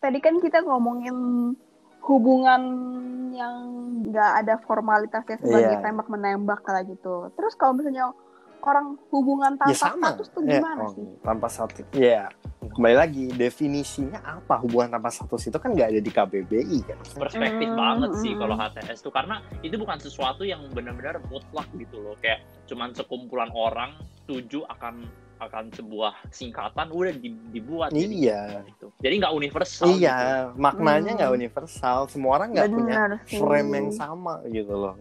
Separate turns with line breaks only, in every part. tadi kan kita ngomongin hubungan yang nggak ada formalitasnya sebagai
Iya.
tembak menembak lah gitu. Terus kalau misalnya orang hubungan tanpa
ya sama.
status tuh
Ya,
gimana
oh,
sih?
Tanpa status. Ya, kembali lagi definisinya apa hubungan tanpa status itu kan nggak ada di KBBI kan.
perspektif
Hmm,
banget sih
hmm.
kalau HTS tuh karena itu bukan sesuatu yang benar-benar mutlak gitu loh kayak cuman sekumpulan orang setuju akan akan sebuah singkatan udah di- dibuat jadi
Iya,
gitu. Jadi nggak universal.
iya
gitu.
maknanya
Hmm.
nggak universal. Semua orang nggak punya
Benar sih.
frame yang sama gitu loh.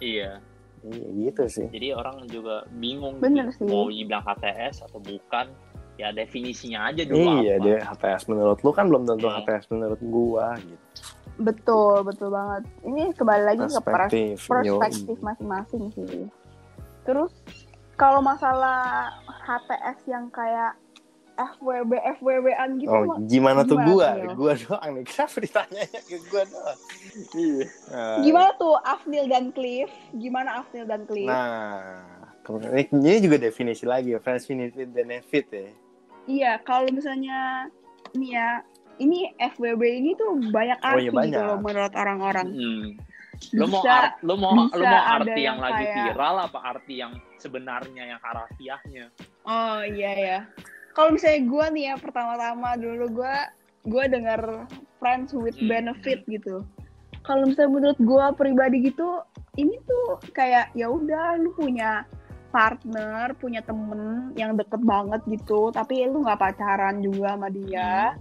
Iya.
Iya gitu sih.
Jadi orang juga bingung
Bener sih.
gitu, mau dibilang HTS atau bukan. Ya definisinya aja dulu
iya
apa.
deh HTS menurut lu kan belum tentu
Iya.
HTS menurut gua gitu.
Betul, betul banget. Ini kembali lagi ke pers-
Perspektif,
perspektif
yoi.
masing-masing sih. Terus kalau masalah HTS yang kayak FWB FWB-an gitu
Oh,
mah,
gimana tuh
Gimana
gua?
tuh, ya? Yo?
Gua doang nih. Kenapa ditanyanya ke gua doang?
Iya.
Eh,
gimana tuh Afnil dan Cliff? Gimana Afnil dan Cliff?
Nah, kemudian ini- ini juga definisi lagi ya, friends benefit benefit ya.
Iya, kalau misalnya nih ya, ini FWB ini tuh banyak
Oh,
arti
iya,
gitu
banyak.
loh menurut orang-orang.
Hmm. Lo mau
Kan? Bisa-
art, lo mau lo
bisa
mau
ada
arti
yang
yang, lagi
kayak-
viral apa arti yang sebenarnya yang harafiahnya?
Oh iya ya. Kalau misalnya gue nih ya pertama-tama dulu gue gue dengar friends with
Hmm.
benefit gitu. Kalau misalnya menurut gue pribadi gitu, ini tuh kayak ya udah lu punya partner, punya temen yang deket banget gitu, tapi lu nggak pacaran juga sama dia.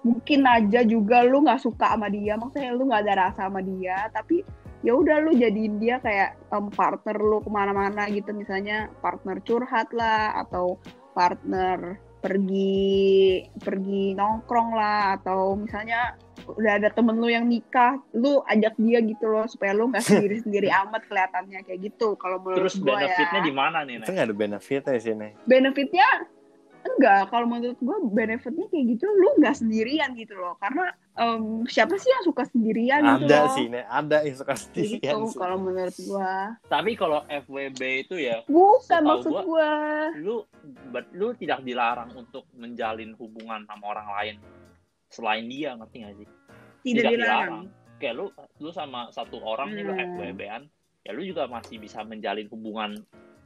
Mungkin aja juga lu nggak suka sama dia, maksudnya lu nggak ada rasa sama dia, tapi ya udah lu jadiin dia kayak em, partner lu kemana-mana gitu, misalnya partner curhat lah atau partner pergi pergi nongkrong lah atau misalnya udah ada temen lu yang nikah lu ajak dia gitu loh supaya lu nggak sendiri sendiri amat kelihatannya kayak gitu kalau menurut
Terus
gua
benefitnya
ya.
di mana nih?
Itu
Nek?
nggak ada ya benefitnya sih nih.
benefitnya enggak kalau menurut gua benefitnya kayak gitu lu nggak sendirian gitu loh karena em, siapa sih yang suka sendirian gitu
Ada
loh
sih nih, ada yang suka
Iya
Kayak
sendirian
gitu
sih.
kalau menurut gua
Tapi kalau FWB itu ya
bukan
Setahu
maksud
gua-
gua
lu but lu tidak dilarang untuk menjalin hubungan sama orang lain selain dia ngerti gak sih?
tidak,
tidak
dilarang
dilarang. Kayak lu lu sama satu orang nih lu
Hmm.
FWB-an, ya lu juga masih bisa menjalin hubungan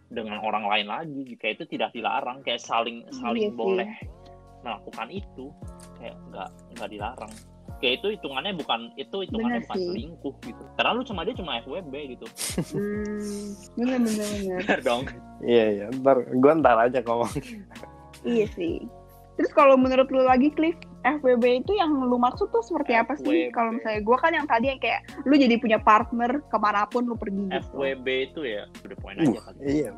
dengan orang lain lagi. gitu. Kayak itu tidak dilarang, kayak saling
Iya sih.
saling boleh melakukan itu. Kayak nggak nggak dilarang. Kayak itu hitungannya bukan itu hitungannya
Bener
bukan
sih.
selingkuh gitu. Karena lu cuma dia cuma FWB gitu.
hmm, bener bener bener
Bener dong.
Iya iya, ntar gua ntar aja ngomong.
Iya sih. Terus kalau menurut lu lagi Cliff, FWB itu yang lu maksud tuh seperti apa sih?
FWB.
Kalau misalnya gue kan yang tadi yang kayak lu jadi punya partner kemanapun lu pergi gitu.
FWB itu ya udah poin aja
Uh,
kali.
iya,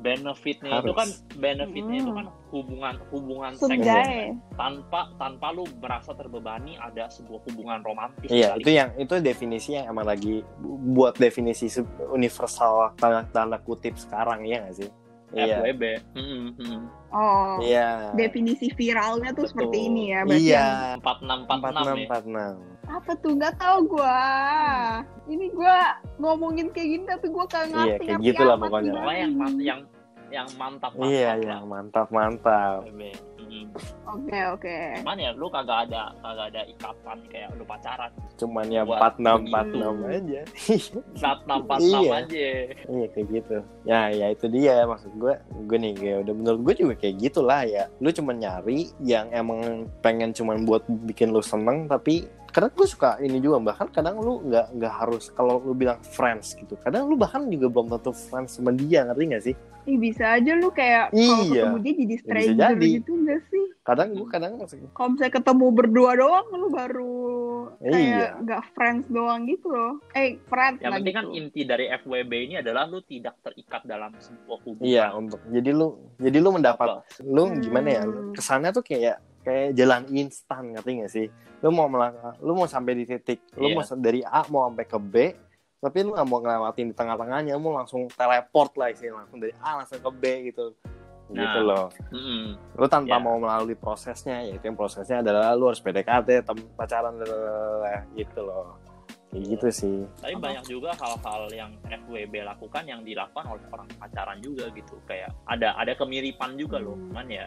Benefitnya itu
Harus.
kan benefitnya itu
Hmm.
kan hubungan hubungan seksual
Sebenarnya
tanpa tanpa lu merasa terbebani ada sebuah hubungan romantis
iya
kali.
itu yang itu definisi yang emang lagi bu- buat definisi se- universal tanda tanda kutip sekarang ya nggak sih? Iya,
FWB Mm, mm, mm.
oh
iya.
definisi viralnya tuh
Betul.
seperti ini ya. Berarti
Iya,
yang-
4646 ya
4646.
apa tuh nggak tahu gue.
Hmm.
Ini gue ngomongin kayak gini tapi gue kagak
Iya,
ngerti.
kayak
ngerti
gitu lah
amat
pokoknya.
gimana.
ya. Pokoknya yang man- yang yang mantap mantap
Iya,
lah,
iya, mantap, mantap.
FWB Mm.
Oke oke.
cuman ya lu kagak ada kagak ada ikatan kayak lu pacaran
Cuman ya
Buat
4646 aja.
saat nampak
Iya.
aja
Iya kayak gitu. Ya ya itu dia maksud gue. Gue nih kayak udah menurut gue juga kayak gitulah ya. Lu cuman nyari yang emang pengen cuman buat bikin lu seneng tapi kadang gue suka ini juga bahkan kadang lu nggak nggak harus kalau lu bilang friends gitu kadang lu bahkan juga belum tentu friends sama dia ngerti gak sih
Ih, bisa aja lu kayak kalau
Iya.
ketemu dia jadi stranger
jadi.
gitu nggak sih?
kadang gue kadang
kalau misalnya ketemu berdua doang lu baru
Iya.
kayak nggak friends doang gitu loh eh friends
yang
lah
penting kan
gitu.
inti dari FWB ini adalah lu tidak terikat dalam sebuah hubungan
iya untuk jadi lu jadi lu mendapat
Apa?
lu gimana ya
Hmm.
kesannya tuh kayak kayak jalan instan ngerti gak sih lu mau melangkah lu mau sampai di titik lu
Iya.
mau sa- dari A mau sampai ke B tapi lu nggak mau ngelewatin di tengah-tengahnya lu langsung teleport lah istilahnya langsung dari A langsung ke B gitu gitu
Nah.
loh
Mm-mm.
lu tanpa
Iya.
mau melalui ya prosesnya yaitu yang prosesnya adalah lu harus PDKT tem- pacaran lalalala, gitu loh kayak gitu sih
Tapi banyak juga hal-hal yang FWB lakukan yang dilakukan oleh orang pacaran juga gitu. Kayak ada ada kemiripan juga loh.
Hmm.
Cuman ya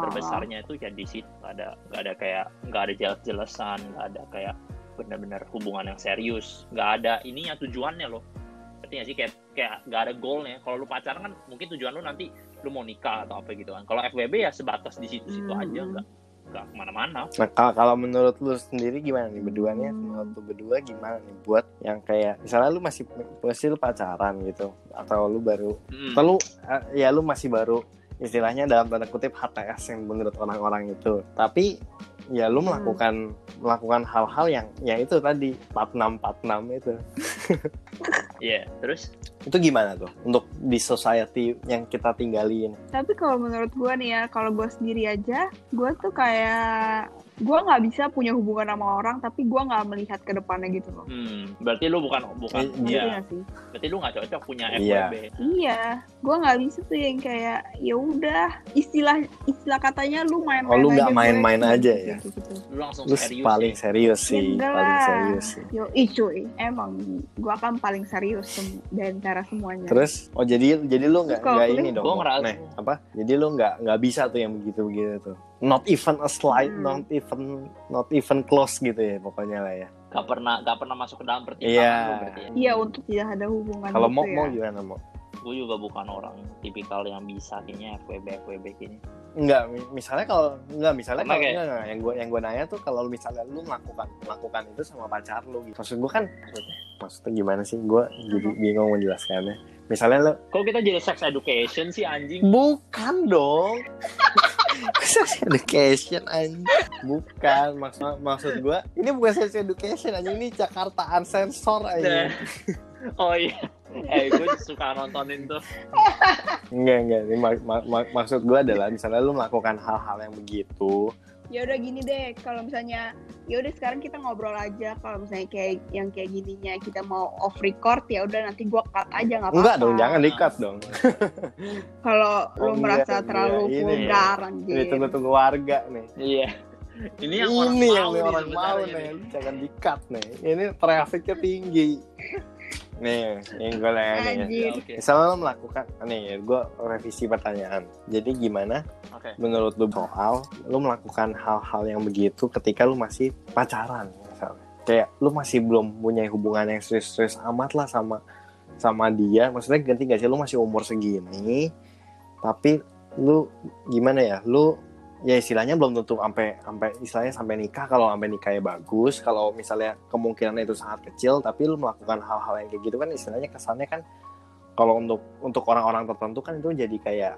Oh.
terbesarnya itu ya di situ Nggak ada nggak ada kayak nggak ada jelas-jelasan, nggak ada kayak benar-benar hubungan yang serius, nggak ada ininya tujuannya loh. Berarti nggak sih kayak kayak nggak ada goalnya. Kalau lu pacaran kan mungkin tujuan lu nanti lu mau nikah atau apa gitu kan. Kalau FWB ya sebatas di situ-situ
Hmm.
aja nggak nggak kemana-mana.
Nah, ka- kalau menurut lu sendiri gimana nih berduanya? Menurut lu berdua gimana nih buat yang kayak misalnya lu masih masih lu pacaran gitu atau lu baru
Hmm.
atau lu eh, ya lu masih baru istilahnya dalam tanda kutip HTS yang menurut orang-orang itu. Tapi ya lu
Hmm.
melakukan melakukan hal-hal yang ya itu tadi 46 46 itu.
Iya, terus
Itu gimana tuh untuk di society yang kita tinggalin?
tapi kalau menurut gue nih ya kalau gue sendiri aja gue tuh kayak gue nggak bisa punya hubungan sama orang tapi gue nggak melihat ke depannya gitu loh
hmm, berarti lu bukan bukan
Eh,
Ngerti
ya.
nggak sih?
berarti lu nggak cocok punya
Iya.
FWB.
Iya, gue nggak bisa tuh yang kayak ya udah istilah istilah katanya lu main-main
Oh, lu nggak
aja,
main-main
gue."
aja
Gitu,
ya?
gitu, gitu.
Lu langsung
Lu
serius.
paling
ya.
serius sih,
Enggak
paling
lah.
serius sih.
Yo, ih cuy, emang gue kan paling serius sem- dari antara semuanya.
Terus oh jadi jadi lu
Terus
nggak
kalau
nggak
kulit,
ini dong.
gua ngerasa-
Nih, apa? Jadi lu nggak nggak bisa tuh yang begitu begitu tuh. Not even a slight,
Hmm.
not even not even close gitu ya pokoknya lah ya.
Gak pernah gak pernah masuk ke dalam pertimbangan
Iya.
lu berarti. Ya.
Iya untuk tidak ada hubungan
Kalau
gitu
mau
ya.
mau gimana mau?
Gue juga bukan orang tipikal yang bisa kayaknya FWB FWB gini.
Enggak, mi- misalnya kalau enggak misalnya
Sama
kalau
kayak-
enggak, enggak, yang gue yang gue nanya tuh kalau misalnya lu melakukan melakukan itu sama pacar lu gitu. Maksud gue kan maksudnya gimana sih? Gue jadi bingung menjelaskannya. Misalnya lu
Kok kita jadi sex education sih anjing?
bukan dong. sex education anjing. Bukan maksud maksud gue ini bukan sex education anjing ini Jakartaan sensor
Nah.
anjing.
Oh iya. Eh gue suka nontonin tuh.
Enggak enggak ini mak- mak- mak- maksud gue adalah misalnya lu melakukan hal-hal yang begitu
ya udah gini deh kalau misalnya ya udah sekarang kita ngobrol aja kalau misalnya kayak yang kayak gininya kita mau off record ya udah nanti gua cut aja nggak apa-apa
enggak dong jangan dikat dong.
kalau
Oh,
lu
enggak,
merasa
enggak.
terlalu
Ini ya.
vulgar
Ini
anjir
tunggu-tunggu warga nih.
Iya. Ini yang orang
ini
mau
yang
nih
orang mau
sebenarnya
nih,
nih.
jangan dikat nih. Ini trafiknya tinggi. nih, yang gue nanya nih.
anjir
Ya, Oke.
Misalnya lo melakukan, nih gue revisi pertanyaan. Jadi gimana
Oke.
menurut lo soal lo melakukan hal-hal yang begitu ketika lo masih pacaran misalnya. Kayak lo masih belum punya hubungan yang serius-serius amat lah sama sama dia. Maksudnya ganti gak sih lo masih umur segini, tapi lu gimana ya lu ya istilahnya belum tentu sampai sampai istilahnya sampai nikah kalau sampai nikahnya bagus kalau misalnya kemungkinan itu sangat kecil tapi lu melakukan hal-hal yang kayak gitu kan istilahnya kesannya kan kalau untuk untuk orang-orang tertentu kan itu jadi kayak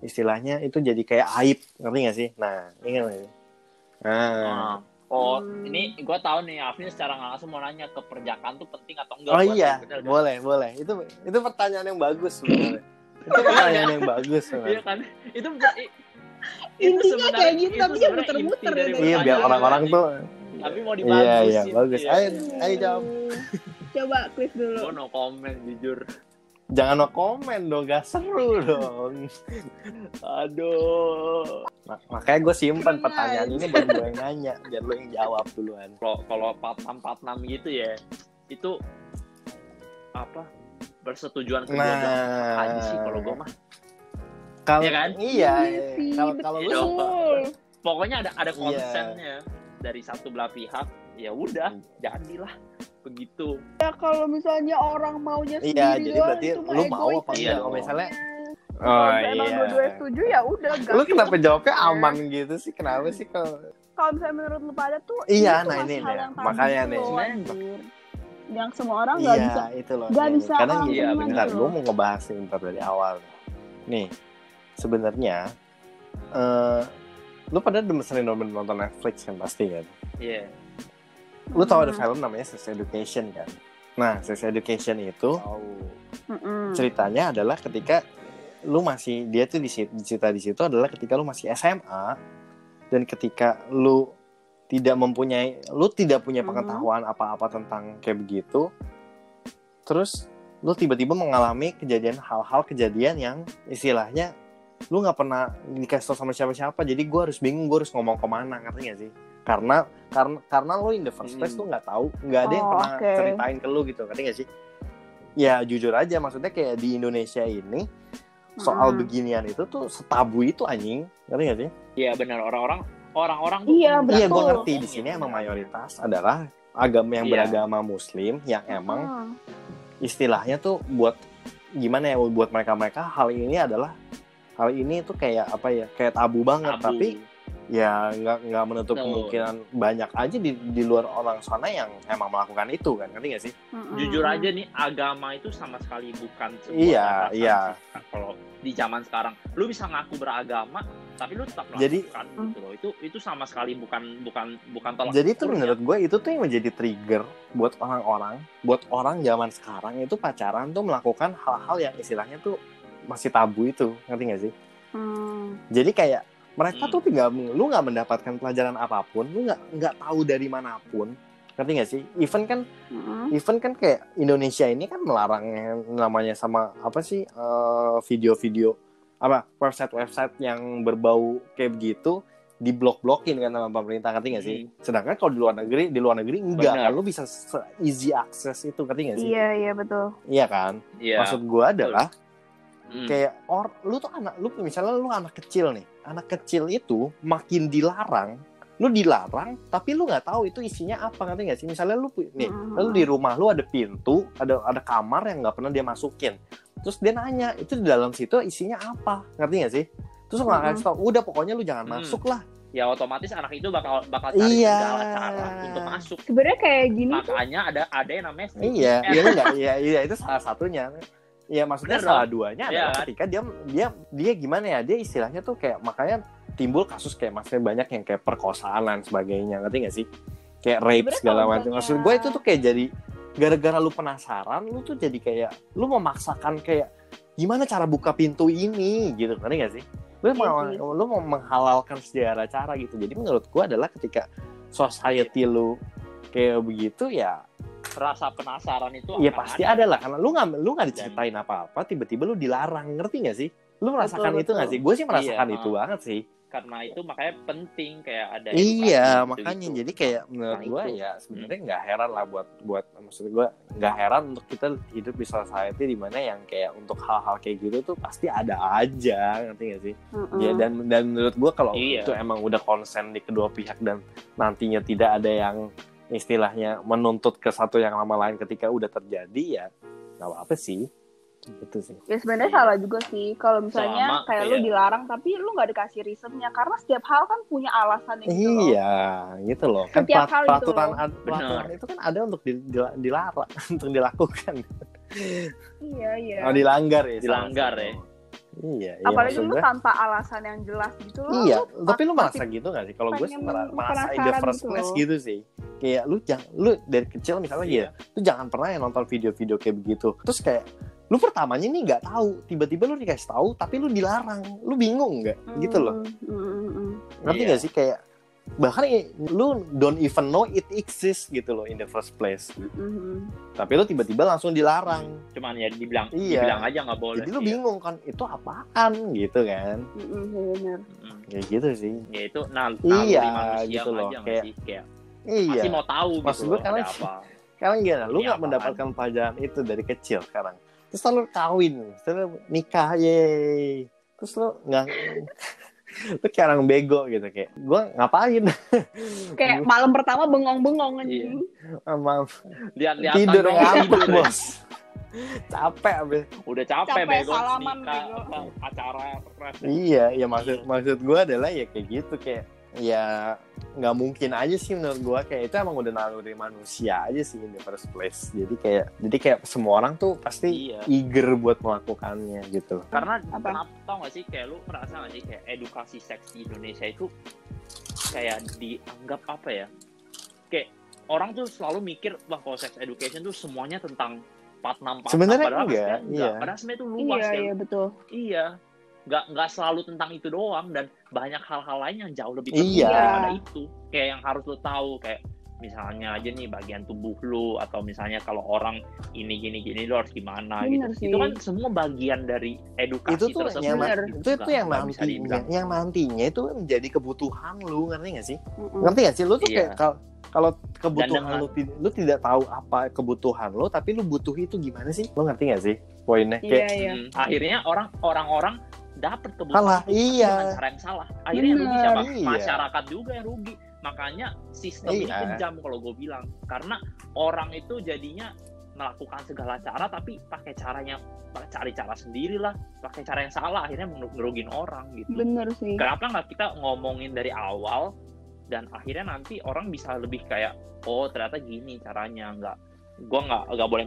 istilahnya itu jadi kayak aib ngerti gak sih nah ini kan nah
Ah. Oh,
Hmm.
ini gue tahu nih Afin secara nggak langsung mau nanya keperjakaan tuh penting atau enggak
oh
buat lu,
iya
bener kan?
boleh boleh itu itu pertanyaan yang bagus sebenarnya itu pertanyaan yang bagus
Iya
sebenarnya
kan? Itu i-
intinya
sebenarnya-
kayak gitu tapi
itu
jangan
sebenarnya
muter-muter
inti dari
deh.
iya biar orang-orang tuh
tapi mau dibagusin.
iya iya bagus ayo ayo jawab
coba klik
Gue
dulu
no comment jujur.
Jangan no komen dong, gak seru dong.
Aduh.
Ma- makanya gue simpen
Kurang
pertanyaan ini buat gue yang nanya, biar lo yang jawab duluan.
Kalau kalau 4646 gitu ya, itu apa? Bersetujuan ke
Nah.
jodoh aja Iya sih kalau gue mah.
kalau
Iya kan?
iya,
Iya
iya.
sih,
kalau kalau lu
betul.
Betul.
Pokoknya ada ada
Iya.
konsennya dari satu belah pihak. Ya udah, jadilah begitu.
ya kalau misalnya orang maunya sendiri
iya, jadi
doang,
berarti
itu mah
lu mau
egois
apa
aja.
Iya
enggak? Kalau
dong.
misalnya
Kalau
iya.
emang dua-dua setuju ya udah
Oh, Lu
gas.
kenapa jawabnya aman gitu sih? Kenapa sih kalau
kalau misalnya menurut lu pada tuh
Iya,
tuh
nah
masalah
ini nih,
yang tabu
makanya
tuh,
nih.
anjir. yang semua orang nggak bisa
Iya, itu loh.
nggak
Iya,
bisa
Karena
orang
iya,
terima
bentar,
gitu
gue
loh.
mau ngebahas ini bentar dari awal. Nih, sebenarnya eh lu pada demen sering demen nonton Netflix kan pasti kan?
Iya.
lu tau ada
Mm.
film namanya Sex Education kan? Nah, Sex Education itu
Mm-mm.
ceritanya adalah ketika lu masih dia tuh di situ cerita di situ adalah ketika lu masih SMA dan ketika lu tidak mempunyai lu tidak punya
Mhm.
pengetahuan apa-apa tentang kayak begitu terus lu tiba-tiba mengalami kejadian hal-hal kejadian yang istilahnya lu nggak pernah dikasih tau sama siapa-siapa jadi gue harus bingung gue harus ngomong kemana ngerti gak sih karena karena karena lo in the first place
Hmm.
tuh nggak tahu nggak ada yang
Oh,
pernah
oke.
ceritain ke lo gitu ngerti nggak sih ya jujur aja maksudnya kayak di Indonesia ini soal
Mm.
beginian itu tuh setabu itu anjing ngerti nggak sih
Iya benar orang-orang orang-orang
Iya,
benar.
iya
Betul.
gue ngerti di sini emang mayoritas adalah agama yang
Iya.
beragama Muslim yang
Hmm.
emang istilahnya tuh buat gimana ya buat mereka-mereka hal ini adalah hal ini tuh kayak apa ya kayak tabu banget
Tabu.
tapi ya nggak nggak menutup
Betul.
kemungkinan banyak aja di, di luar orang sana yang emang melakukan itu kan ngerti nggak sih
Mm-mm.
jujur
Hmm.
aja nih agama itu sama sekali bukan sebuah
Iya,
batasan
iya.
sih, Kak. kalau di zaman sekarang lu bisa ngaku beragama tapi lu tetap melakukan
Jadi-
gitu loh itu itu sama sekali bukan bukan bukan tolak
jadi itu
ukur ya.
menurut gue itu tuh yang menjadi trigger buat orang-orang buat orang zaman sekarang itu pacaran tuh melakukan hal-hal yang istilahnya tuh masih tabu itu ngerti nggak sih
Hmm.
jadi kayak mereka
Hmm.
tuh tinggal lu nggak mendapatkan pelajaran apapun lu nggak nggak tahu dari manapun ngerti nggak sih even kan
Mm-mm.
even kan kayak Indonesia ini kan melarang yang namanya sama apa sih eh, video-video apa website-website yang berbau kayak begitu diblok-blokin kan sama pemerintah ngerti nggak sih? Sedangkan kalau di luar negeri di luar negeri enggak
Hmm. Benar.
kan lu bisa se- easy access itu ngerti nggak sih?
Iya iya betul.
Iya kan?
Iya.
Maksud gua adalah
Mm.
kayak or lu tuh anak lu misalnya lu anak kecil nih anak kecil itu makin dilarang lu dilarang tapi lu nggak tahu itu isinya apa ngerti nggak sih misalnya lu pu- nih
Mm.
lalu di rumah lu ada pintu ada ada kamar yang nggak pernah dia masukin terus dia nanya itu di dalam situ isinya apa ngerti nggak sih terus lu nggak
Mm-mm.
kasih tau udah pokoknya lu jangan
Mm.
masuk lah
ya otomatis anak itu bakal bakal cari
Iya.
segala cara untuk masuk
Sebenarnya kayak gini tuh
makanya ada ada yang namanya
iya iya lu nggak- iya iya itu salah satunya Iya maksudnya
Bener
salah duanya
Iya
adalah
kan?
ketika dia dia dia gimana ya dia istilahnya tuh kayak makanya timbul kasus kayak maksudnya banyak yang kayak perkosaan dan sebagainya ngerti nggak sih kayak rape
Sebenarnya
segala
kalau
macam
misalnya-
maksud gue itu tuh kayak jadi gara-gara lu penasaran lu tuh jadi kayak lu memaksakan kayak gimana cara buka pintu ini gitu ngerti nggak sih lu mau
Iya sih.
lu mau menghalalkan segala cara gitu jadi menurut gue adalah ketika society lu kayak begitu ya
rasa penasaran itu
Iya
akan
pasti
ada.
ada lah karena lu nggak lu nggak diceritain apa-apa tiba-tiba lu dilarang ngerti nggak sih? Lu merasakan
Betul,
itu nggak
betul.
sih? Gue sih merasakan
Iya,
itu
ah. Ya,
banget sih.
karena itu makanya penting kayak ada
iya
edukasi
makanya
gitu-gitu.
jadi kayak menurut
Nah,
gue
itu.
ya sebenarnya nggak heran lah buat buat maksud gue nggak heran untuk kita hidup di society di mana yang kayak untuk hal-hal kayak gitu tuh pasti ada aja ngerti nggak sih?
Mm-mm.
Ya dan dan menurut gue kalau
Iya.
itu emang udah konsen di kedua pihak dan nantinya tidak ada yang istilahnya menuntut ke satu yang lama lain ketika udah terjadi ya nggak apa-apa sih gitu sih.
Ya sebenarnya
Iya.
salah juga sih kalau misalnya
Selama
kayak
kayak-
lu dilarang tapi lu nggak dikasih reasonnya karena setiap hal kan punya alasan gitu loh.
Iya, gitu loh. Kan
Setiap
pelat-
hal gitu
peraturan,
loh.
ad- peraturan itu kan ada untuk di- dila- dilarang, untuk dilakukan.
Iya iya.
Oh, dilanggar ya. salah
Dilanggar
satu.
ya.
Iya, iya.
Apalagi
maksud
lu
gua-
tanpa alasan yang jelas gitu loh.
Iya,
lu
tapi lu
pas-
merasa gitu gak sih? Kalau gue sih
pengen
mera- merasa in the
penasaran
first
gitu
place
loh.
gitu sih. Kayak lu jangan lu dari kecil misalnya
Iya.
gitu, lu jangan pernah yang nonton video-video kayak begitu. Terus kayak lu pertamanya nih nggak tahu, tiba-tiba lu dikasih tahu tapi lu dilarang. Lu bingung nggak? Gitu loh.
Mm, mm, mm, mm.
Ngerti
Hmm, Iya.
nggak sih kayak bahkan i- lu don't even know it exists gitu loh in the first place.
Mm, mm.
Tapi lu tiba-tiba langsung dilarang.
cuman ya dibilang
Iya.
dibilang aja nggak boleh
Jadi lu
Iya.
bingung kan itu apaan gitu kan.
Mm, mm, iya benar.
Mm.
Kayak gitu sih.
ya itu nal
Iya,
naluri manusia
gitu loh,
aja nggak
kayak-
sih kayak
Iya.
pasti mau tahu
Maksud
gitu
gua
loh,
karena-
ada apa
Sekarang gimana? Lu
Ini
nggak
Iya, apaan?
mendapatkan pelajaran itu dari kecil sekarang. Terus lu kawin, terus lu nikah, yeay. Terus lu nggak lu kayak orang bego gitu kayak gua ngapain
Kayak malam pertama bengong-bengong anjing.
Iya. sama
lihat-lihat
tidur ngantuk
tidur ya.
bos capek abis
udah capek,
Capek,
bego
salaman,
nikah,
bego.
apa, acara res-
iya ya maksud maksud gue adalah ya kayak gitu kayak ya nggak mungkin aja sih menurut gue kayak itu emang udah naluri manusia aja sih in the first place jadi kayak jadi kayak semua orang tuh pasti
iya
eager buat melakukannya gitu
karena
Apa?
kenapa tau gak sih kayak lu merasa gak sih kayak edukasi seks di Indonesia itu kayak dianggap apa ya kayak orang tuh selalu mikir wah kalau sex education tuh semuanya tentang 46 46
Sebenarnya
padahal
enggak,
sebenarnya enggak.
iya.
padahal sebenarnya itu luas
Iya
ya
iya betul.
Iya, nggak nggak selalu tentang itu doang dan banyak hal-al lain yang jauh lebih
Iya.
penting daripada itu. Kayak yang harus lo tahu kayak misalnya aja nih bagian tubuh lu atau misalnya kalau orang ini gini gini lu harus gimana
Bener
gitu
sih.
itu kan semua bagian dari edukasi
itu tuh
tersebut
yang
bener.
itu itu
Nggak-
yang ya.
nggak bisa
nanti
dibilang.
yang nantinya itu menjadi kebutuhan lu ngerti gak sih
Mm-mm.
ngerti gak sih lu tuh
Iya.
kayak kal- kalau kebutuhan
dengan-
lu tid- lu tidak tahu apa kebutuhan lu tapi lu butuh itu gimana sih lu ngerti gak sih poinnya
Iya
kayak
iya.
Hmm, akhirnya orang orang orang dapat kebutuhan
kalah iya
dengan cara yang salah akhirnya yang rugi
Bener.
siapa
Iya.
masyarakat juga yang rugi makanya sistem ini
Iya.
kejam kalau gue bilang karena orang itu jadinya melakukan segala cara tapi pakai caranya pakai cari cara sendiri lah pakai cara yang salah akhirnya meru- ngerugin orang gitu
Bener sih.
kenapa nggak kita ngomongin dari awal dan akhirnya nanti orang bisa lebih kayak oh ternyata gini caranya nggak gue nggak nggak boleh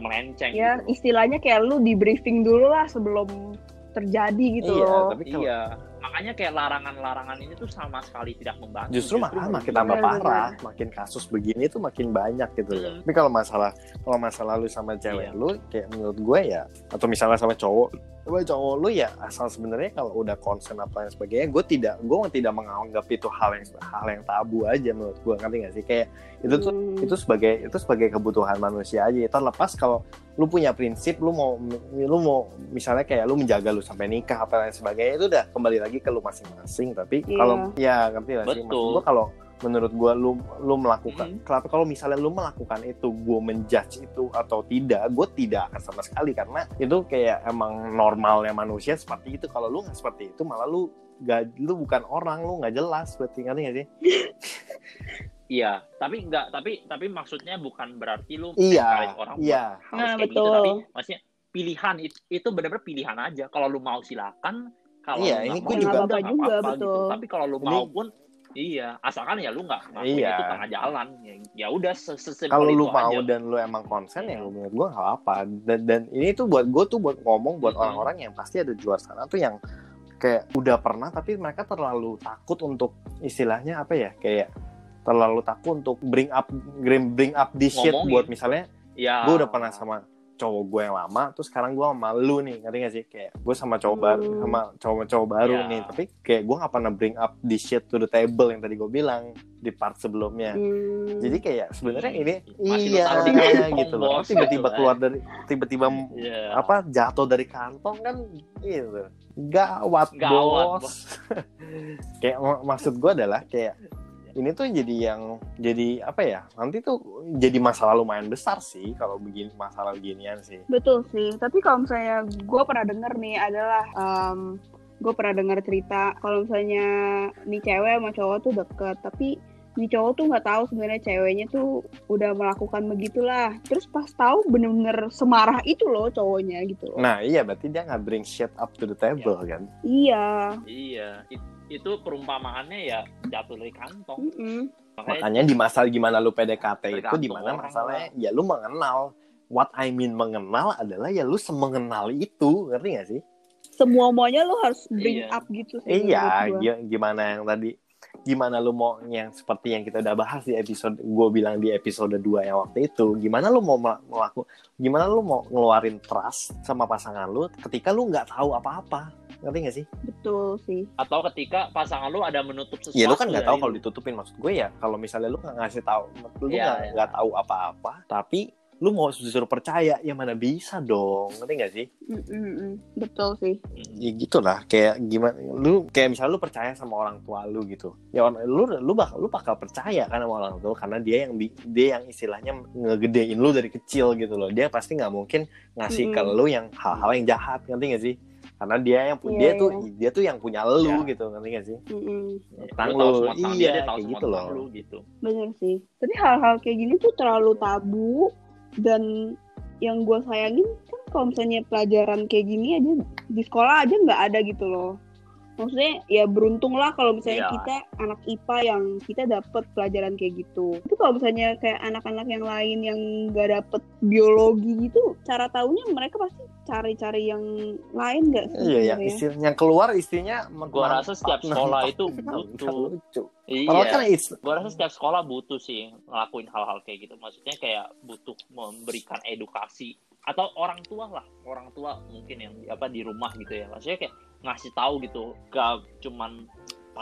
Ya
melenceng
Iya,
gitu loh.
istilahnya kayak lu di briefing dulu lah sebelum terjadi gitu
Iya,
loh.
tapi kalau-
iya makanya kayak larangan-larangan ini tuh sama sekali tidak membantu
justru malah makin
merugikan.
tambah
Bener, bener.
parah makin kasus begini tuh makin banyak gitu loh
Mm.
tapi kalau masalah kalau masalah lu sama cewek
Iya.
lu kayak menurut gue ya atau misalnya sama cowok Coba cowok lu ya asal sebenarnya kalau udah concern apa yang sebagainya gue tidak gue tidak menganggap itu hal yang hal yang tabu aja menurut gue ngerti gak sih kayak itu tuh
Hmm.
itu sebagai itu sebagai kebutuhan manusia aja Ya, terlepas kalau lu punya prinsip lu mau lu mau misalnya kayak lu menjaga lu sampai nikah apa lain sebagainya itu udah kembali lagi ke lu masing-masing tapi
Iya.
kalau ya ngerti lah sih
Betul.
maksud gua kalau menurut gua lu lu melakukan
Mhm.
kalau kalau misalnya lu melakukan itu gua menjudge itu atau tidak gua tidak akan sama sekali karena itu kayak emang normalnya manusia seperti itu kalau lu nggak seperti itu malah lu gak, lu bukan orang lu nggak jelas berarti ngerti nggak sih
iya tapi nggak tapi tapi maksudnya bukan berarti lu
Iya,
encourage Eh, orang buat
iya.
Nah,
harus kayak
betul.
gitu tapi maksudnya pilihan itu, itu benar-benar pilihan aja kalau lu mau silakan kalau
Iya, ini
lu nggak mau ya
gua juga-
nggak
Nggak apa-apa juga,
apa-apa gitu.
betul.
tapi kalau lu
Ini-
mau pun iya asalkan ya lu nggak ngakuin
Iya.
itu tengah jalan ya, ya udah se- sesimpel
kalau lu
itu
mau
aja.
dan lu emang konsen
Iya.
yang menurut gue nggak apa dan dan ini tuh buat gue tuh buat ngomong buat
Mm-mm.
orang-orang yang pasti ada di luar sana tuh yang kayak udah pernah tapi mereka terlalu takut untuk istilahnya apa ya kayak terlalu takut untuk bring up bring bring up this shit
Ngomongin.
buat misalnya
ya
gue udah pernah sama cowok gue yang lama terus sekarang gue sama lu nih ngerti gak sih kayak gue sama cowok
Hmm.
baru sama cowok cowok baru
Iya.
nih tapi kayak gue nggak pernah bring up this shit to the table yang tadi gue bilang di part sebelumnya
Hmm.
jadi kayak sebenarnya ini
Masih
iya
lu taruh di kantong,
gitu loh
bos.
tiba-tiba
Gitu,
keluar dari tiba-tiba m-
Iya.
apa jatuh dari kantong kan gitu gawat,
Gawat,
bos, kayak mak- maksud gue adalah kayak ini tuh jadi yang jadi apa ya nanti tuh jadi masalah lumayan besar sih kalau begini masalah beginian sih
Betul sih, tapi kalau misalnya gue pernah denger nih adalah gue pernah dengar cerita kalau misalnya nih cewek sama cowok tuh deket, tapi nih cowok tuh nggak tahu sebenarnya ceweknya tuh udah melakukan begitulah. Terus pas tahu bener-bener semarah itu loh cowoknya gitu. loh.
nah iya berarti dia nggak bring shit up to the table kan
Iya.
iya It- itu perumpamaannya ya jatuh dari kantong
Mm-mm.
makanya
makanya di masalah gimana lu PDKT itu
Nah, Tergantung
di mana
orang
masalahnya ya lu mengenal what I mean mengenal adalah ya lu semengenal itu ngerti gak sih
Semua maunya lo harus bring
Iya.
up gitu. sih
Iya,
menurut gua.
gi- gimana yang tadi gimana lu mau yang seperti yang kita udah bahas di episode gue bilang di episode 2 yang waktu itu gimana lu mau mel- melaku gimana lu mau ngeluarin trust sama pasangan lu ketika lu nggak tahu apa-apa ngerti gak sih?
Betul sih.
atau ketika pasangan lu ada menutup sesuatu iya.
Ya lu kan nggak
dari
tahu kalau ditutupin maksud gue ya kalau misalnya lu nggak ngasih tahu lu nggak
Iya, iya.
nggak tahu apa-apa tapi lu mau disuruh percaya ya mana bisa dong ngerti gak sih?
Mm-mm-mm. Betul sih.
Mm.
ya gitu lah kayak gimana lu kayak misalnya lu percaya sama orang tua lu gitu ya orang- lu lu bakal lu bakal percaya kan sama orang tua karena dia yang bi- dia yang istilahnya ngegedein lu dari kecil gitu loh dia pasti nggak mungkin ngasih ke
Mm-mm.
lu yang hal-hal yang jahat ngerti gak sih karena dia yang punya
Iya,
dia tuh dia tuh yang punya lu
Iya.
gitu ngerti gak sih
Mm-mm.
tentang
Lu tahu
lu.
semua tentang
Iya,
dia, dia tahu
kayak
semua
gitu
tentang
loh.
lu gitu.
Bener sih. Tapi hal-hal kayak gini tuh terlalu tabu dan yang gue sayangin kan kalau misalnya pelajaran kayak gini aja di sekolah aja nggak ada gitu loh. Maksudnya ya beruntung lah kalau misalnya
Iya.
kita anak IPA yang kita dapet pelajaran kayak gitu. Itu kalau misalnya kayak anak-anak yang lain yang nggak dapet biologi gitu, cara taunya mereka pasti cari-cari yang lain nggak sih?
iya yang
sebenarnya?
istilah yang keluar istrinya
Gua rasa setiap sekolah itu butuh.
lucu Padahal
Iya.
kan it's-
Gua rasa setiap sekolah butuh sih ngelakuin hal-hal kayak gitu. Maksudnya kayak butuh memberikan edukasi atau orang tua lah, orang tua mungkin yang di- apa di rumah gitu ya. Maksudnya kayak ngasih tahu gitu, gak cuman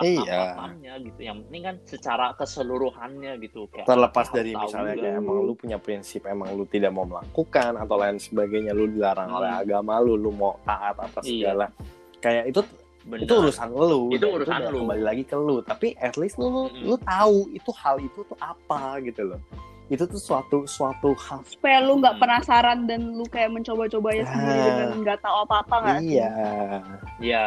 Iya.
apa-apanya gitu yang penting kan secara keseluruhannya gitu kayak
terlepas
harus
dari
tahu
misalnya
juga.
kayak emang lu punya prinsip emang lu tidak mau melakukan atau lain sebagainya lu dilarang
Hmm.
oleh agama lu lu mau taat atas
Iya.
segala kayak itu
Bener.
itu urusan lu
Itu
dan
urusan
udah
lu. Hmm.
kembali lagi ke lu tapi at least lu lu
Mm-mm.
tahu itu hal itu tuh apa gitu loh itu tuh suatu suatu hal
supaya lu nggak
Hmm.
penasaran dan lu kayak mencoba-cobanya sendiri
Ah.
dengan nggak tahu apa-apa nggak sih?
iya
ya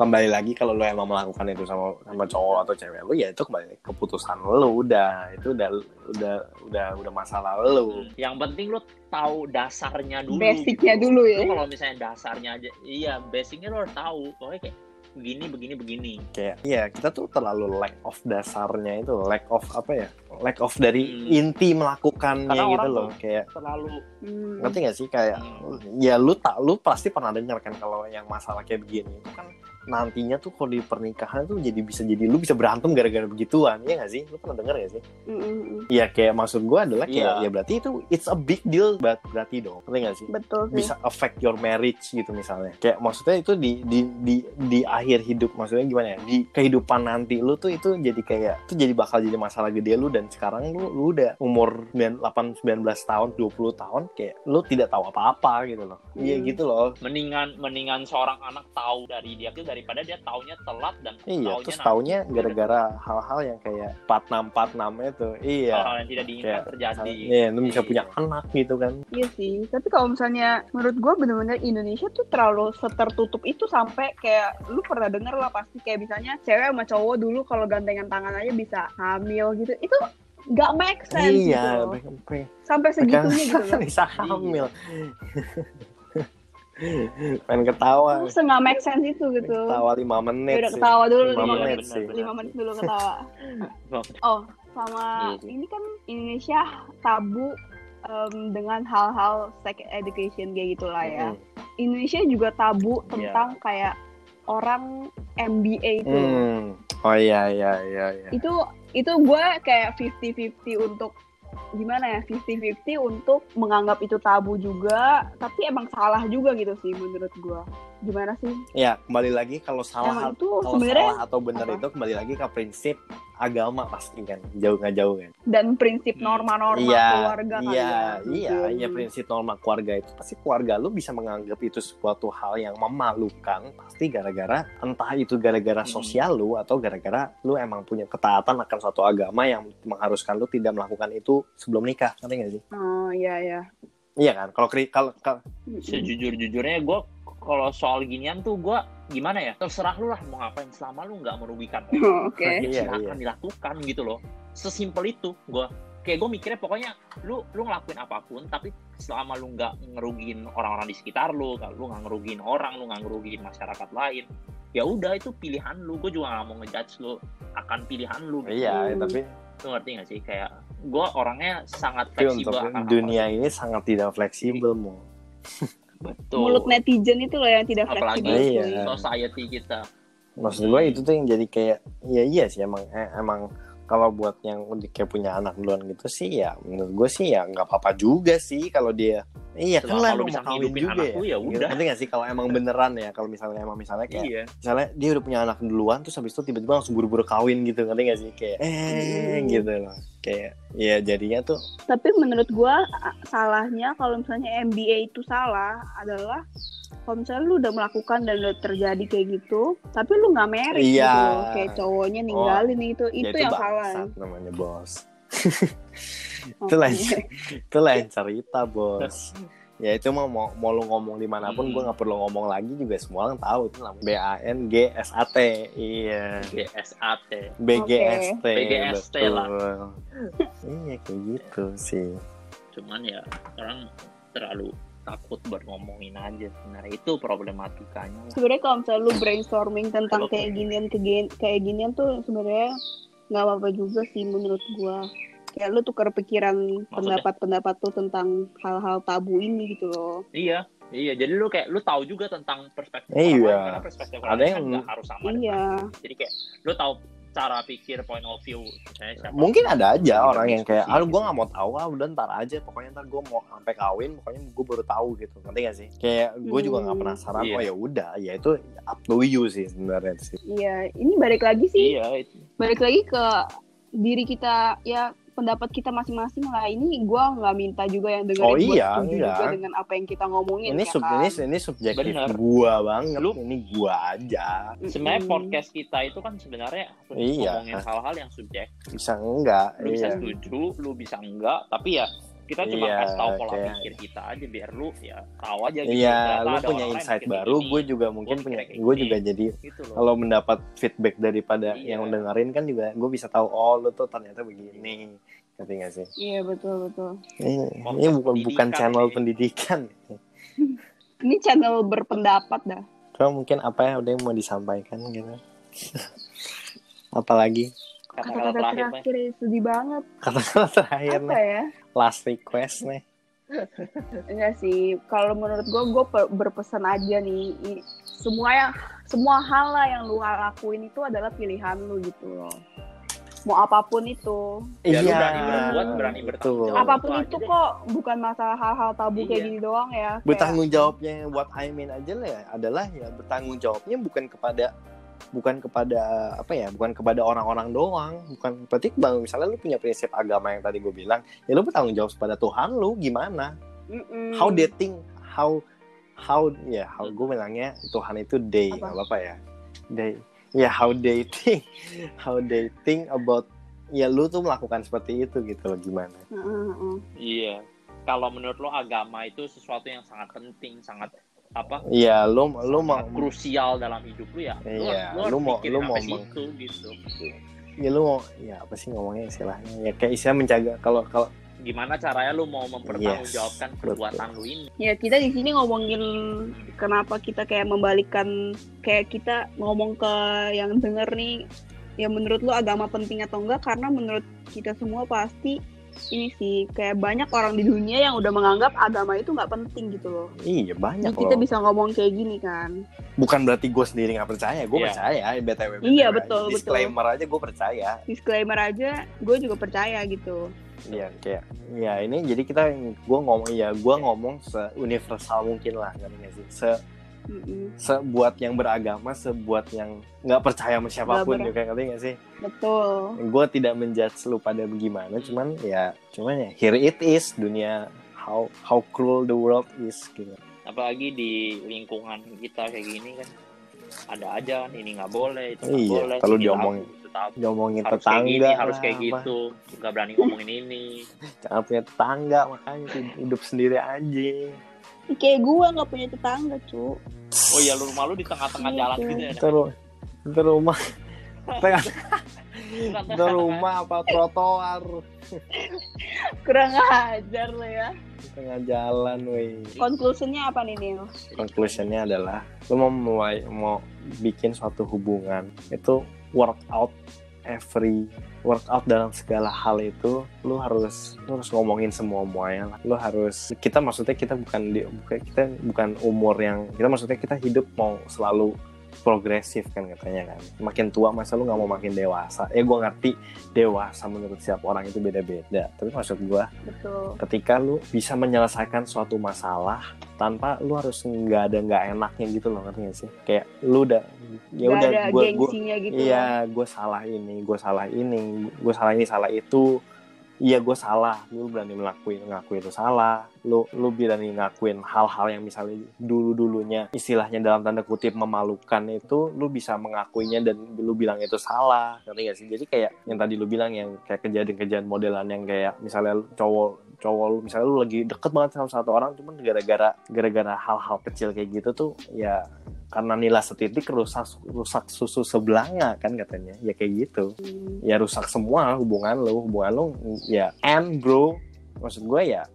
kembali lagi kalau lu emang melakukan itu sama sama cowok atau cewek lu ya itu kembali keputusan lu udah itu udah udah udah udah masalah lu
Hmm. yang penting lu tahu dasarnya dulu
Basicnya
gitu.
dulu ya.
Lu kalau misalnya dasarnya aja iya basicnya lu harus tahu pokoknya kayak begini begini begini
kayak ya kita tuh terlalu lack of dasarnya itu lack of apa ya lack of dari
Hmm.
inti melakukannya
Karena
gitu
orang
loh
tuh-
kayak
terlalu
Hmm.
ngerti gak sih kayak
Hmm.
ya lu tak lu pasti pernah dengar kan kalau yang masalah kayak begini itu kan nantinya tuh kalau di pernikahan tuh jadi bisa jadi lu bisa berantem gara-gara begituan ya gak sih lu pernah dengar gak sih
Mm, mm, mm.
ya kayak maksud gua adalah kayak
Iya.
ya berarti itu it's a big deal ber- berarti dong ngerti gak sih
Betul sih.
bisa affect your marriage gitu misalnya kayak maksudnya itu di di di di akhir hidup maksudnya gimana ya di kehidupan nanti lu tuh itu jadi kayak itu jadi bakal jadi masalah gede lu dan sekarang lu lu udah umur 9, 8 19 tahun 20 tahun kayak lu tidak tahu apa-apa gitu loh iya
Hmm.
gitu loh
mendingan mendingan seorang anak tahu dari dia tuh daripada dia taunya telat dan
iya
taunya nah,
terus
nanti
taunya gara-gara hal-hal yang kayak 46 46 itu iya
hal-hal yang tidak diinginkan
Kayak-
terjadi
Iya, lu bisa punya anak gitu kan
Iya sih, tapi kalau misalnya menurut gue bener-bener Indonesia tuh terlalu setertutup itu sampai kayak lu pernah denger lah pasti kayak misalnya cewek sama cowok dulu kalau gantengan tangan aja bisa hamil gitu, itu nggak make sense gitu
iya
loh.
pengen- pengen-
sampai segitunya gitu
pengen
loh.
bisa hamil pengen ketawa
Lu nggak make sense itu gitu.
Ketawa 5 menit
Ya udah
sih.
ketawa dulu
Lima
lima
menit
menit,
sih.
lima menit dulu ketawa.
Bang.
Oh, sama
Iya sih.
ini kan Indonesia tabu em, dengan hal-hal sex education kayak gitulah ya. Indonesia juga tabu tentang
Iya.
kayak orang MBA itu.
Hmm. Oh iya iya iya iya.
Itu itu gue kayak 50-50 untuk gimana ya 50-50 untuk menganggap itu tabu juga tapi emang salah juga gitu sih menurut gue gimana sih
Ya, kembali lagi kalau
emang
salah
itu
kalau
sebenarnya
salah atau benar
apa?
itu kembali lagi ke prinsip agama pasti kan. Jauh nggak jauh kan.
dan prinsip norma-norma
iya,
keluarga kali
iya,
ya.
iya,
Mungkin.
iya prinsip norma keluarga itu pasti keluarga lu bisa menganggap itu suatu hal yang memalukan pasti gara-gara entah itu gara-gara
Hmm.
sosial lu atau gara-gara lu emang punya ketaatan akan suatu agama yang mengharuskan lu tidak melakukan itu sebelum nikah, ngerti nggak sih?
oh iya iya
Iya kan? Kalau kri- kalau kalau-
sejujur-jujurnya gue kalau soal ginian tuh gue gimana ya terserah lu lah mau ngapain selama lu nggak merugikan
Oh,
orang
oke
Iya,
ya
iya.
silahkan dilakukan gitu loh sesimpel itu gue kayak gue mikirnya pokoknya lu lu ngelakuin apapun tapi selama lu nggak ngerugiin orang-orang di sekitar lu kalau lu nggak ngerugiin orang lu nggak ngerugiin masyarakat lain ya udah itu pilihan lu gue juga nggak mau ngejudge lu akan pilihan lu gitu.
Iya,
Hmm.
tapi
lu ngerti gak sih kayak gue orangnya sangat
tapi
fleksibel
untuk
akan apa.
dunia ini sangat tidak fleksibel mau.
betul
mulut netizen itu loh yang tidak
apalagi
fleksibel
gitu. Iya.
cuy.
society kita
Maksud gue itu tuh yang jadi kayak ya iya sih emang eh, emang kalau buat yang udah kayak punya anak duluan gitu sih ya menurut gue sih ya nggak apa-apa juga sih kalau dia iya kan
Selama
lah
lu
lu
bisa
mau kawin
ngehidupin
juga
anak
ya.
lu, ya
Gitu.
udah.
Ngerti gak sih kalau emang beneran ya kalau misalnya emang misalnya kayak
iya
misalnya dia udah punya anak duluan terus habis itu tiba-tiba langsung buru-buru kawin gitu ngerti gak sih kayak eh
Hmm.
gitu loh kayak ya jadinya tuh
tapi menurut gua a- salahnya kalau misalnya MBA itu salah adalah kalau misalnya lu udah melakukan dan udah terjadi kayak gitu tapi lu nggak merit
Iya. Oh.
gitu loh. kayak cowoknya ninggalin itu
ya
itu yang salah
bangsat namanya bos
Oke.
itu lain itu lain cerita bos ya itu mah mau mau lu ngomong dimanapun
Hmm.
gue nggak perlu ngomong lagi juga semua orang tahu itu namanya B A N G S A T iya
GSAT
B G S T
BGST lah.
iya kayak gitu sih
cuman ya orang terlalu takut buat ngomongin aja sebenarnya itu problematikanya lah.
sebenarnya kalau misalnya lu brainstorming tentang
Oke.
kayak ginian kegen- kayak ginian tuh sebenarnya nggak apa-apa juga sih menurut gua kayak lu tukar pikiran pendapat-pendapat tuh tentang hal-hal tabu ini gitu loh
iya iya jadi lu kayak lu tahu juga tentang perspektif
Iya.
orang lain, karena perspektif orang
Ada
lain
yang-
kan nggak harus sama dengan
iya
kita. jadi kayak lu tahu cara pikir point of view misalnya siapa
mungkin ada aja
Iya,
orang yang kayak
diskusi
aduh gue
gitu.
nggak mau tahu ah udah ntar aja pokoknya ntar gue mau sampai kawin pokoknya gue baru tahu gitu ngerti gak sih kayak gue juga nggak
Hmm.
penasaran
Iya.
oh ya udah ya itu up to you sih sebenarnya sih
Iya, ini balik lagi sih,
iya itu
balik lagi ke diri kita ya pendapat kita masing-masing lah. Ini gua nggak minta juga yang dengerin
Oh
buat
iya,
setuju
iya.
juga dengan apa yang kita ngomongin.
ini
ya
sub
kan?
ini, ini subjektif
Bener.
gua banget
Lu-
ini gua aja
Mm-mm.
sebenarnya podcast kita itu kan sebenarnya
Iya.
ngomongin hal-hal yang subjek
bisa enggak
lu bisa
iya
setuju lu bisa enggak tapi ya kita cuma
Iya,
kasih tahu pola
kayak-
pikir kita aja biar lu ya tahu aja gitu
Iya,
Ternyata
lu
ada
punya
orang lain
insight
mikir
baru,
gini,
gue juga mungkin
gua
punya,
mikirnya kayak
gue
gini.
juga jadi
gitu loh
kalau mendapat feedback daripada
Iya.
yang dengerin kan juga gue bisa tahu oh lu tuh ternyata begini, ngerti gak sih?
Iya betul betul.
Ini,
Konten
ini bukan bukan
pendidikan ya.
channel
ini.
pendidikan.
Ini channel berpendapat dah.
Cuma mungkin apa yang udah mau disampaikan gitu. Apalagi
Kata-kata
kata-kata terakhir
terakhir,
Mai.
ya, sedih banget.
kata-kata terakhir
Apa
nih,
ya?
last request nih.
Enggak sih. Kalau menurut gue, gue berpesan aja nih. i- Semua yang semua hal lah yang lu lakuin itu adalah pilihan lu gitu loh. Mau apapun itu,
Ya, lu berani berbuat, berani
Iya. betul.
bertanggung jawab.
apapun
aja
itu
deh.
kok bukan masalah hal-hal tabu kayak
Iya.
gini doang ya. Kayak,
bertanggung jawabnya buat I mean aja lah ya, adalah ya bertanggung jawabnya bukan kepada bukan kepada apa ya bukan kepada orang-orang doang bukan berarti bang misalnya lu punya prinsip agama yang tadi gue bilang ya lu bertanggung jawab kepada Tuhan lu gimana
Mm-mm.
how they think how how ya how gue bilangnya Tuhan itu they
Apa?
nggak apa-apa ya they ya how they think how they think about ya lu tuh melakukan seperti itu gitu loh gimana
Mm-mm.
iya kalau menurut lo agama itu sesuatu yang sangat penting sangat apa
ya lu lu mau
krusial dalam hidup lu ya lu,
Iya,
harus-
lu
harus
mau-
pikirin
lu mau
sampai
meng-
situ, gitu
ya lu mau ya apa sih ngomongnya istilahnya ya kayak istilah menjaga kalau kalau
gimana caranya lu mau mempertanggungjawabkan
Yes,
perbuatan lu ini
Ya kita di sini ngomongin kenapa kita kayak membalikkan kayak kita ngomong ke yang denger nih. Ya menurut lu agama penting atau enggak? Karena menurut kita semua pasti ini sih kayak banyak orang di dunia yang udah menganggap agama itu nggak penting gitu loh.
iya banyak
Jadi kita
loh
bisa ngomong kayak gini kan.
bukan berarti gue sendiri nggak percaya gue
Iya.
percaya eh, btw, BTW.
Iya, betul, betul.
disclaimer aja gue percaya
Disclaimer aja, gue juga percaya gitu.
iya kayak ya ini jadi kita gue ngomong ya gue ngomong seuniversal mungkin lah ngerti nggak sih se
Mm-mm.
sebuat yang beragama sebuat yang nggak percaya sama siapapun
ber-
juga ngerti nggak sih
Betul.
gue tidak menjudge lu pada bagaimana cuman ya cuman ya here it is dunia how how cruel the world is gitu
apalagi di lingkungan kita kayak gini kan ada aja kan, ini nggak boleh itu nggak
Iya,
boleh
kalau
ini
diomongin.
tabu, itu tabu.
ngomongin
harus kayak
tetangga
gini harus
lah,
kayak
apa.
gitu nggak berani ngomongin ini
jangan punya tetangga makanya hid- hidup sendiri aja
Kayak gue nggak punya tetangga cu.
oh iya lu rumah lu di tengah-tengah jalan gitu ya Nek?
terus terus rumah tengah
Bukan
itu rumah apa trotoar
Kurang ajar lo ya.
Di tengah jalan weh
Conclusionnya apa nih Nil?
conclusionnya adalah lu mau mulai mau bikin suatu hubungan itu workout every workout dalam segala hal itu lu harus lu harus ngomongin semua muanya lah lu harus kita maksudnya kita bukan di bukan kita bukan umur yang kita maksudnya kita hidup mau selalu progresif kan katanya kan makin tua masa lu nggak mau makin dewasa ya gua ngerti dewasa menurut siap orang itu beda-beda tapi maksud gua
Betul.
ketika lu bisa menyelesaikan suatu masalah tanpa lu harus nggak ada nggak enaknya gitu loh ngerti gak sih kayak lu udah ya
Nggak
udah
ada
gue
gengsinya gitu.
iya gue salah ini gue salah ini gue salah ini salah itu iya gue salah lu berani melakuin ngakui itu salah lu lu berani ngakuin hal-hal yang misalnya dulu dulunya istilahnya dalam tanda kutip memalukan itu lu bisa mengakuinya dan lu bilang itu salah ngerti gak sih jadi kayak yang tadi lu bilang yang kayak kejadian-kejadian modelan yang kayak misalnya lu cowok cowok lu misalnya lu lagi deket banget sama satu orang cuman gara-gara gara-gara hal-hal kecil kayak gitu tuh ya karena nilai setitik rusak rusak susu sebelanga kan katanya ya kayak gitu
Hmm.
ya rusak semua hubungan lo hubungan lo ya and bro maksud gue ya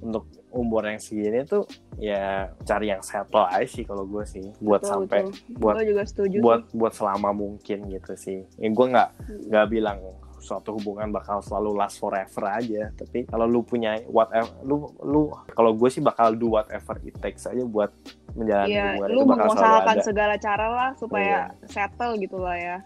untuk umur yang segini tuh ya cari yang settle aja sih kalau gue sih buat
Betul,
sampai
betul.
buat-
Gua juga setuju
buat buat selama mungkin gitu sih ya, gue nggak
sih.
nggak bilang suatu hubungan bakal selalu last forever aja tapi kalau lu punya whatever lu lu kalau gue sih bakal do whatever it takes aja buat menjalani
Iya,
hubungan
lu
itu bakal selalu
mengusahakan
ada
segala cara lah supaya settle gitu lah ya.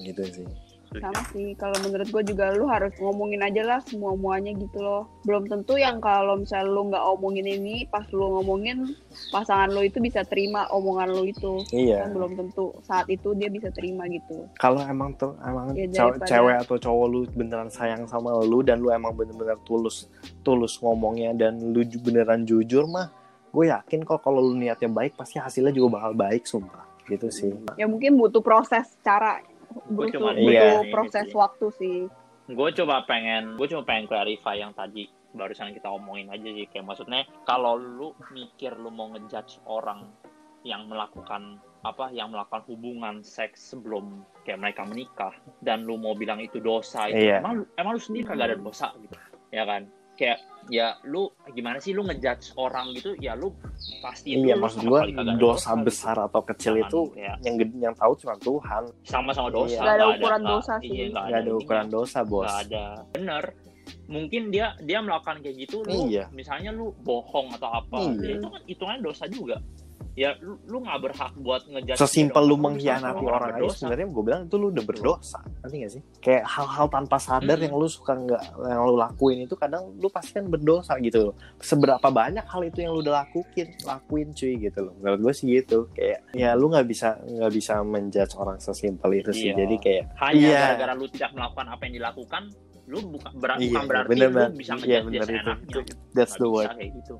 gitu sih
setuju.
sama sih kalau menurut gue juga lu harus ngomongin aja lah semua muanya gitu loh belum tentu yang kalau misalnya lu nggak omongin ini pas lu ngomongin pasangan lu itu bisa terima omongan lu itu kan
Iya.
belum tentu saat itu dia bisa terima gitu
Kalau emang tuh emang
Ya,
cew-
daripada-
cewek atau cowok lu beneran sayang sama lu dan lu emang bener-bener tulus tulus ngomongnya dan lu ju- beneran jujur mah, gue yakin kok kalau lu niatnya baik pasti hasilnya juga bakal baik sumpah. Gitu sih.
ya mungkin butuh proses cara butuh,
cuman
butuh
iya.
proses
Iya.
waktu sih
gue coba pengen gue cuma pengen clarify yang tadi barusan kita omongin aja sih kayak maksudnya kalau lu mikir lu mau ngejudge orang yang melakukan apa yang melakukan hubungan seks sebelum kayak mereka menikah dan lu mau bilang itu dosa itu
Iya.
emang lu, emang lu sendiri kagak ada dosa gitu ya kan kayak ya lu gimana sih lu ngejudge orang gitu ya lu pasti
iya,
dulu
maksud
sama
gue
sekali kagak ada
dosa
gitu.
besar atau kecil
Jangan
itu
kayak
yang ged- yang tahu cuma Tuhan.
sama-sama dosa
Iya.
Nggak ada
nggak
ukuran
nggak-
dosa sih.
iya,
Gak ada
ininya.
ukuran dosa, Bos.
nggak ada bener mungkin dia dia melakukan kayak gitu lu
Iya.
misalnya lu bohong atau apa
Iya.
ya itu kan hitungannya dosa juga ya lu, lu nggak berhak buat ngejudge
sesimpel lu
orang,
mengkhianati
orang
orang aja
berdosa.
sebenarnya gue bilang itu lu udah berdosa nanti gak sih kayak hal-hal tanpa sadar
Mm-mm.
yang lu suka nggak yang lu lakuin itu kadang lu pasti kan berdosa gitu loh seberapa banyak hal itu yang lu udah lakuin lakuin cuy gitu loh menurut gue sih gitu kayak ya lu nggak bisa nggak bisa menjudge orang sesimpel itu sih
Iya.
jadi kayak
hanya
Iya.
gara-gara lu tidak melakukan apa yang dilakukan lu buka, ber-
Iya,
bukan berarti
bener,
lu
bener.
bisa
Iya,
ngejudge dia
bener itu.
seenaknya
that's
Nggak
the
bisa
word
kayak gitu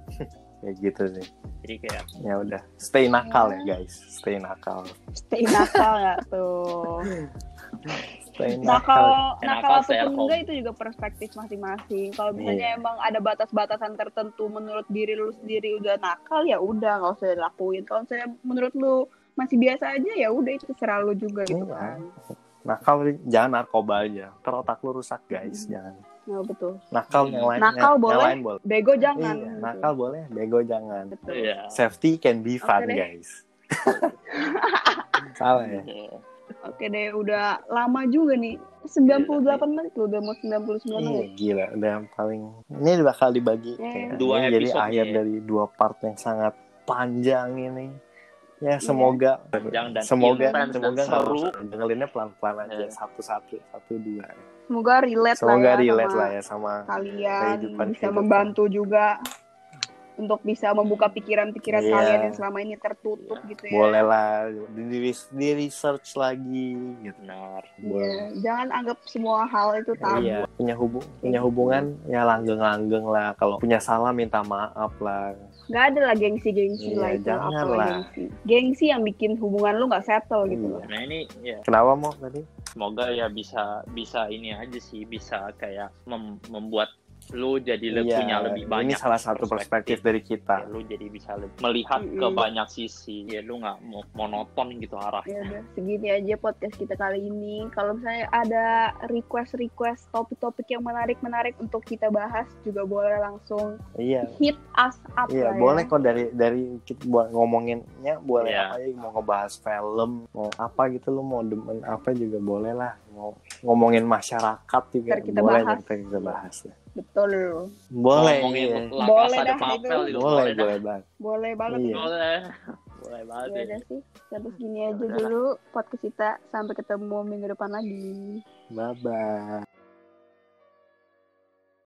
kayak gitu sih
jadi kayak
ya udah stay nakal ya guys stay nakal
stay nakal nggak tuh
stay
Nah,
nakal
nakal
Nakal
nakal
saya
ataupun
kom.
enggak itu juga perspektif masing-masing kalau misalnya
Iya.
emang ada batas-batasan tertentu menurut diri lu sendiri udah nakal ya udah nggak usah dilakuin kalau misalnya menurut lu masih biasa aja ya udah itu terserah lu juga gitu
Iya.
kan
nakal jangan narkoba aja ntar otak lu rusak
Hmm.
guys jangan
nah, betul
nakal yang lain
Nakal
yang- yang
boleh.
lain boleh
bego jangan
Iya,
gitu.
nakal boleh, bego jangan.
betul
iya
Safety can be fun,
Oke deh.
guys. Salah ya?
Iya.
oke deh udah lama juga nih 98 menit loh udah mau 99
Iya,
menit
gila. Udah yang paling... Ini bakal dibagi.
Iya.
kayaknya.
Dua
Ini Jadi
episode
akhir
nih ya.
dari dua part yang sangat panjang ini. Ya, semoga...
Panjang dan
semoga
intens dan
semoga nggak
seru.
bosan. dengerinnya pelan-pelan aja
Iya.
satu-satu satu dua
semoga relate
semoga
lah ya
relate
sama
lah ya sama
kalian
Kehidupan-
bisa
kehidupan.
membantu juga untuk bisa membuka pikiran-pikiran
Iya.
kalian yang selama ini tertutup gitu ya.
boleh lah di, di research lagi gitu
benar
Iya.
boleh
Jangan anggap semua hal itu tabu.
Iya, punya hubung punya hubungan ya langgeng-langgeng lah. Kalau punya salah minta maaf lah.
Nggak ada lah gengsi-gengsi
Iya,
lah itu
jangan
apalah
lah.
gengsi. Gengsi yang bikin hubungan lu nggak settle gitu
Iya.
loh.
nah ini ya
Kenapa mau tadi?
semoga ya bisa bisa ini aja sih bisa kayak mem- membuat lu jadi le-
Iya,
punya lebih
Ini
banyak
salah satu perspektif, dari kita.
Ya, lu jadi bisa lebih melihat ke
Mm-mm.
banyak sisi ya lu nggak mo- monoton gitu
Ya
arahnya
udah, segini aja podcast kita kali ini. Kalau misalnya ada request-request topik-topik yang menarik-menarik untuk kita bahas juga boleh langsung
Iya.
hit us up lah
Iya,
ya.
boleh kok dari dari kita buat ngomonginnya boleh
Iya.
apa ya, mau ngebahas film, mau apa gitu lu mau demen apa juga boleh lah. Mau ngomongin masyarakat
Ntar
juga
kita
boleh
bahas.
ntar kita bahas. ya.
Betul.
Boleh.
ngomongin
iya.
La
Boleh
Casa de
dah,
Papel
itu.
juga
Boleh,
dah.
boleh banget.
Boleh banget
Iya.
boleh boleh banget
Ya
ya.
udah sih, sampai segini aja
udah lah.
dulu podcast kita. Sampai ketemu minggu depan lagi.
Bye bye.